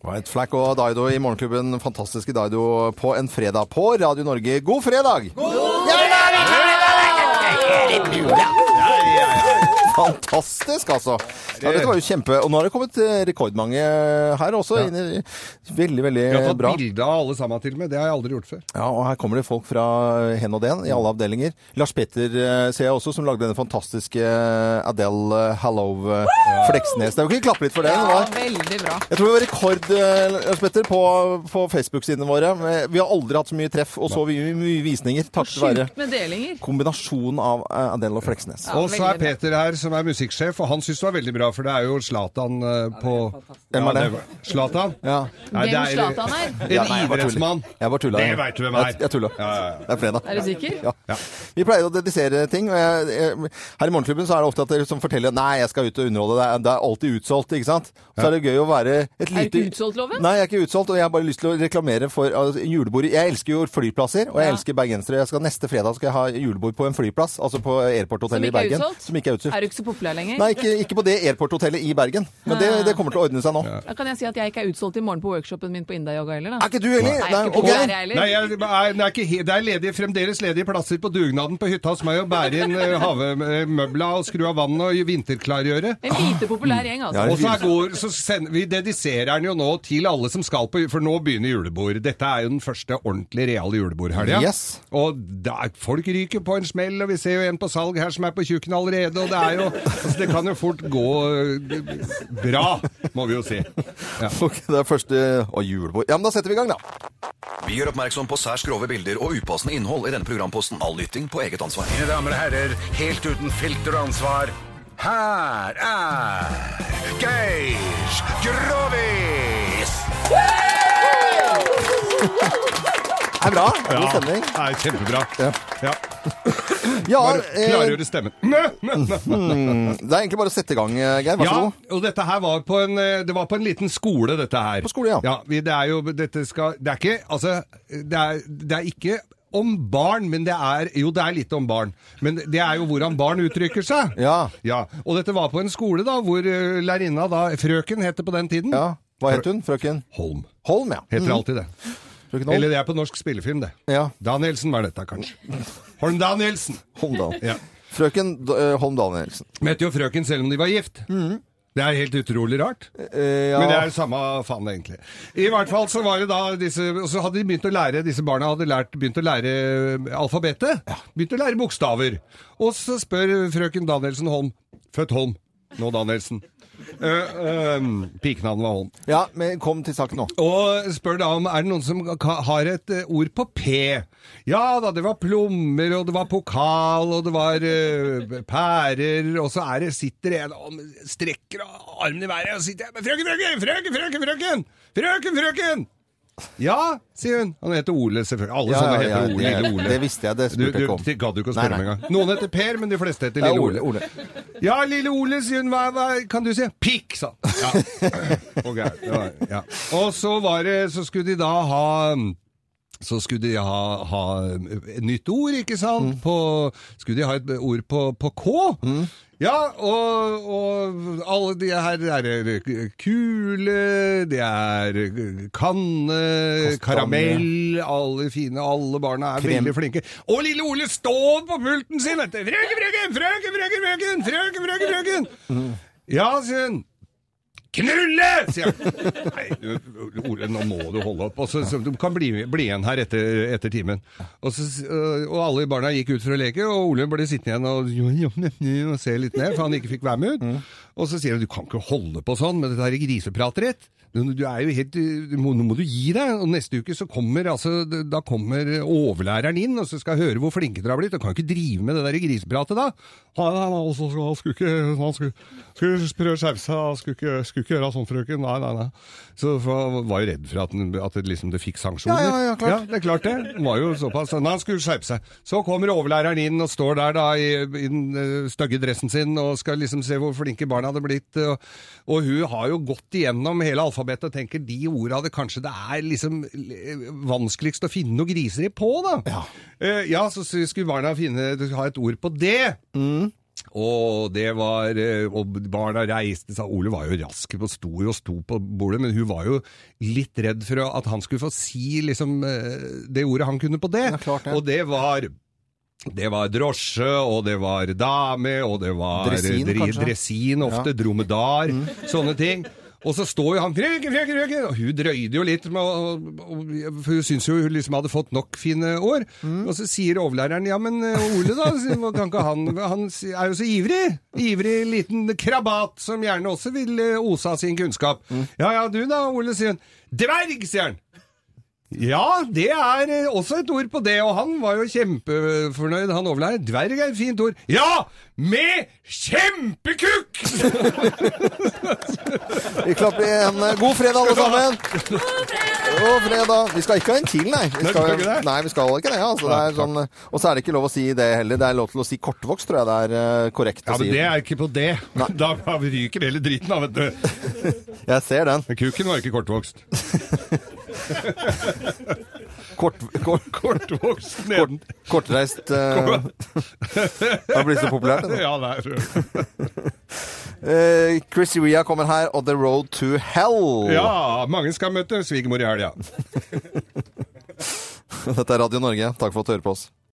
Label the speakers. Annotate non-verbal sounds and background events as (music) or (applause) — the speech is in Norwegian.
Speaker 1: White Flack og Daido i Morgenklubben. Fantastiske Daido på en fredag på Radio Norge. God fredag! Fantastisk, altså. Ja, dette var jo kjempe... Og nå har det kommet eh, rekordmange her også. Inn i, veldig, veldig
Speaker 2: Vi har tatt
Speaker 1: Eh, bra.
Speaker 2: bilde av alle sammen til og med. Det har jeg aldri gjort før.
Speaker 1: Ja, og her kommer det folk fra hen og den i alle avdelinger. Lars Petter eh, ser jeg også, som lagde denne fantastiske Adele eh, Hallow eh, Fleksnes. Det er jo ikke klappe litt for det. det var.
Speaker 3: veldig bra.
Speaker 1: Jeg tror det var rekord eh, Lars Petter, på, på Facebook-sidene våre. Vi har aldri hatt så mye treff og så mye, mye visninger takket være
Speaker 3: Sjukt med delinger.
Speaker 1: kombinasjonen av eh, Adele og Fleksnes.
Speaker 3: Ja,
Speaker 2: Og så
Speaker 3: veldig
Speaker 2: er Peter her, som er musikksjef, og han syns det var veldig bra, for det er jo Zlatan eh, på
Speaker 1: Hvem er det?
Speaker 2: Zlatan?
Speaker 1: Ja.
Speaker 2: Nei, det
Speaker 3: Hvem
Speaker 2: er-
Speaker 3: Zlatan
Speaker 1: Ja,
Speaker 3: er?
Speaker 2: En
Speaker 1: nei, jeg bare tuller.
Speaker 2: idrettsmann.
Speaker 1: Jeg bare tulla.
Speaker 2: Det vet du hvem er.
Speaker 1: Jeg, jeg tulla.
Speaker 2: Ja, ja, ja.
Speaker 1: Det er fredag.
Speaker 3: Er du sikker?
Speaker 1: Ja. Vi pleier å dedisere ting. Og jeg, jeg, her i Morgenklubben så er det ofte at dere som forteller Nei, jeg skal ut og underholde. Det er, det er alltid utsolgt, ikke sant? Så er det gøy å være et lite
Speaker 3: Er du ikke utsolgt, Loven?
Speaker 1: Nei, jeg er ikke utsolgt, og jeg har bare lyst til å reklamere for altså, julebordet. Jeg elsker jo flyplasser, og jeg
Speaker 3: Ja.
Speaker 1: elsker bergensere. Jeg skal, neste fredag skal jeg ha julebord på en flyplass, altså på
Speaker 3: Som
Speaker 1: airporthotellet i
Speaker 3: ikke er
Speaker 1: Bergen.
Speaker 3: utsolgt?
Speaker 1: Som ikke er utsolgt.
Speaker 3: Er du ikke så populær lenger?
Speaker 1: Nei, ikke, ikke på det airporthotellet i Bergen. Men det, det kommer til å ordne seg nå.
Speaker 3: Da kan jeg si at jeg ikke er utsolgt i morgen på workshopen min på Indayoga heller, da.
Speaker 1: Er ikke du enig?
Speaker 3: Nei, jeg er ikke populær, jeg heller.
Speaker 2: Nei, jeg, nei, det er ikke, he- det er ledige, fremdeles ledige plasser på dugnaden på hytta hos meg å bære inn eh, havemøbla og skru av vannet og vinterklargjøre.
Speaker 3: En lite populær gjeng, altså.
Speaker 1: Ja,
Speaker 2: Og så er går, så sender, vi dediserer den jo nå til alle som skal på For nå begynner julebord. Dette er jo den første ordentlig reale julebordhelga.
Speaker 1: Yes.
Speaker 2: Og da, folk ryker på en smell, og vi ser jo en på salg her som er på tjukken allerede. Og det er jo altså, Det kan jo fort gå eh, bra, må vi jo si. Ja.
Speaker 1: (laughs) Ok, det er første Å, julebord. Ja, men da setter vi i gang, da.
Speaker 4: Vi gjør oppmerksom på særs grove bilder og upassende innhold i denne programposten. All lytting på eget ansvar.
Speaker 5: Mine damer og herrer, helt uten filter og ansvar, her er Geir Grovis!
Speaker 1: Det er bra. God stemning.
Speaker 2: det er kjempebra.
Speaker 1: Ja.
Speaker 2: Ja.
Speaker 1: Ja,
Speaker 2: Bare
Speaker 1: eh,
Speaker 2: klargjøre stemmen. Nø, nø, nø, nø.
Speaker 1: Det er egentlig bare å sette i gang, eh, Geir. Vær så
Speaker 2: Ja,
Speaker 1: god.
Speaker 2: og dette her var på en, eh, det var på en liten skole, dette her.
Speaker 1: På skole, ja.
Speaker 2: vi, det er jo, dette skal, det er ikke, altså, det er, det er ikke om barn, men det er, jo det er litt om barn. Men det er jo hvordan barn uttrykker seg.
Speaker 1: Ja.
Speaker 2: Og dette var på en skole da, hvor eh, lærerinna da, frøken heter på den tiden.
Speaker 1: Ja. Hva het hun? Frøken
Speaker 2: Holm.
Speaker 1: Holm, ja.
Speaker 2: Heter alltid det.
Speaker 1: Frøken
Speaker 2: Eller
Speaker 1: Holm.
Speaker 2: det er på norsk spillefilm det.
Speaker 1: Ja.
Speaker 2: Danielsen var dette
Speaker 1: (laughs)
Speaker 2: kanskje. Holm Danielsen.
Speaker 1: Holmdal.
Speaker 2: Ja.
Speaker 1: Frøken D- eh, Holm Danielsen.
Speaker 2: Møtte jo frøken selv om de var gift. Det er helt utrolig rart.
Speaker 1: Mm. Eh,
Speaker 2: Men det er
Speaker 1: ja.
Speaker 2: jo samme faen, egentlig. I hvert fall så var det da disse Og så hadde de begynt å lære Disse barna hadde lært, begynt å lære eh, alfabetet. Begynt å lære bokstaver. Og så spør frøken Danielsen Holm Født Holm. Nå Danielsen. Uh, Pikenavnet var Holm.
Speaker 1: ja, men kom til saken nå.
Speaker 2: Sånn, Og spør da om er det noen som ka- har et eh, ord på P. Ja da, det var plommer, og det var pokal, og det var eh, pærer, og så er det, sitter en og strekker armen i været og sitter her, Frøken, frøken, frøken, frøken, frøken! Frøken, frøken! Ja, sier hun. Han heter Ole, selvfølgelig. Alle
Speaker 1: Ja,
Speaker 2: sånne
Speaker 1: ja, ja,
Speaker 2: heter Ole.
Speaker 1: det-
Speaker 2: Lille Ole.
Speaker 1: det visste jeg, det spurte
Speaker 2: Du-
Speaker 1: jeg ikke om.
Speaker 2: Du gadd jo ikke å spørre
Speaker 1: Nei,
Speaker 2: om
Speaker 1: nei.
Speaker 2: engang. Noen heter Per, men de fleste heter
Speaker 1: Ja,
Speaker 2: Lille
Speaker 1: Ole.
Speaker 2: Ole.
Speaker 1: Ole.
Speaker 2: Ja, lille Ole, sier hun. Hva, hva kan du si? Pikk, sa han. Ja. (laughs) Ok, det var, ja. Og så var det Så skulle de da ha så skulle de ha, ha et nytt ord, ikke sant? På, skulle de ha et ord på, på K? Ja, og, og alle de her er kule, det er kanne, karamell, alle fine, alle barna er
Speaker 1: Krem.
Speaker 2: veldig flinke. Og lille Ole står på pulten sin! vet du. Frøken, frøken, frøken, frøken, frøken, frøken, frøken, frøken! Ja, sier hun. Knulle! sier jeg. Nei, du, Ole, nå må du holde opp. Og så, så, du kan bli, bli igjen her etter, etter timen. Og, så, øh, og alle barna gikk ut for å leke, og Ole ble sittende igjen og, jo, jo, ne, ne, og se litt ned, for han ikke fikk være med ut. Og så sier han du kan ikke holde på sånn med dette her grisepratet ditt. Du, du er jo helt, du må, nå må du gi deg, og neste uke så kommer altså, da kommer overlæreren inn og så skal høre hvor flinke dere har blitt, og kan ikke drive med det der grisepratet da. Han, han, han, også- han skulle ikke, han skulle, skulle prøve å skjerpe seg, han skulle ikke, skulle ikke gjøre sånn frøken, nei, nei, nei. Så for han var jo redd for at, den, at det, liksom, det fikk sanksjoner.
Speaker 1: Ja, ja, ja, klart.
Speaker 2: Ja, det er klart det. Han var jo såpass, nei, han skulle skjerpe seg. Så kommer overlæreren inn og står der da i, i den eh, stygge dressen sin og skal liksom se hvor flinke barna hadde blitt. Og, og hun har jo gått igjennom hele alfabetet og tenker de orda det kanskje det er liksom eh, vanskeligst å finne noe griser i på, da.
Speaker 1: Ja.
Speaker 2: Eh, ja så skulle barna finne, ha et ord på det. Og det var eh, Og barna reiste seg. Ole var jo rask og sto jo og sto på bordet, men hun var jo litt redd for at han skulle få si liksom eh, det ordet han kunne på det.
Speaker 1: Ja, klart det.
Speaker 2: Og det var det var drosje, og det var dame, og det var
Speaker 1: Dresin,
Speaker 2: dri-
Speaker 1: kanskje?
Speaker 2: dresin ofte,
Speaker 1: Ja. Mm.
Speaker 2: dromedar, sånne ting. Og så står jo han frøken, frøken, frøken! Og hun drøyde jo litt, med, å- å- å- for hun syntes jo hun liksom hadde fått nok fine år.
Speaker 1: Mm.
Speaker 2: Og så sier overlæreren ja, men eh, Ole, da? sier han, Kan ikke han Han er jo så ivrig! Ivrig liten krabat som gjerne også vil eh, ose av sin kunnskap.
Speaker 1: Mm.
Speaker 2: Ja ja, du da, Ole, sier hun. Dverg, sier han! Ja, det er eh, også et ord på det, og han var jo kjempefornøyd, han overleier. Dverg er et fint ord. Ja, med kjempekukk!
Speaker 1: Vi klapper igjen. God fredag, alle sammen! God fredag! Vi skal ikke ha en til, nei. Vi
Speaker 2: Nei, skal ikke det?
Speaker 1: nei, vi skal ikke det. Altså, det er sånn, og så er det ikke lov å si det heller. Det er lov til å si kortvokst, tror jeg det er eh, korrekt
Speaker 2: Ja,
Speaker 1: å
Speaker 2: men
Speaker 1: si.
Speaker 2: det er ikke på det.
Speaker 1: Nei.
Speaker 2: Da ryker hele driten av, vet du.
Speaker 1: Jeg ser den.
Speaker 2: Men kuken var ikke kortvokst.
Speaker 1: Kort, kort,
Speaker 2: Kortvokst
Speaker 1: kort,
Speaker 2: neden.
Speaker 1: kortreist eh, Det har blitt så populært. det nå.
Speaker 2: Ja, det er
Speaker 1: Eh, Chris Rea kommer her, og The Road to Hell.
Speaker 2: Ja, mange skal møte svigermor i helga.
Speaker 1: Dette er Radio Norge. Takk for at du hører på oss.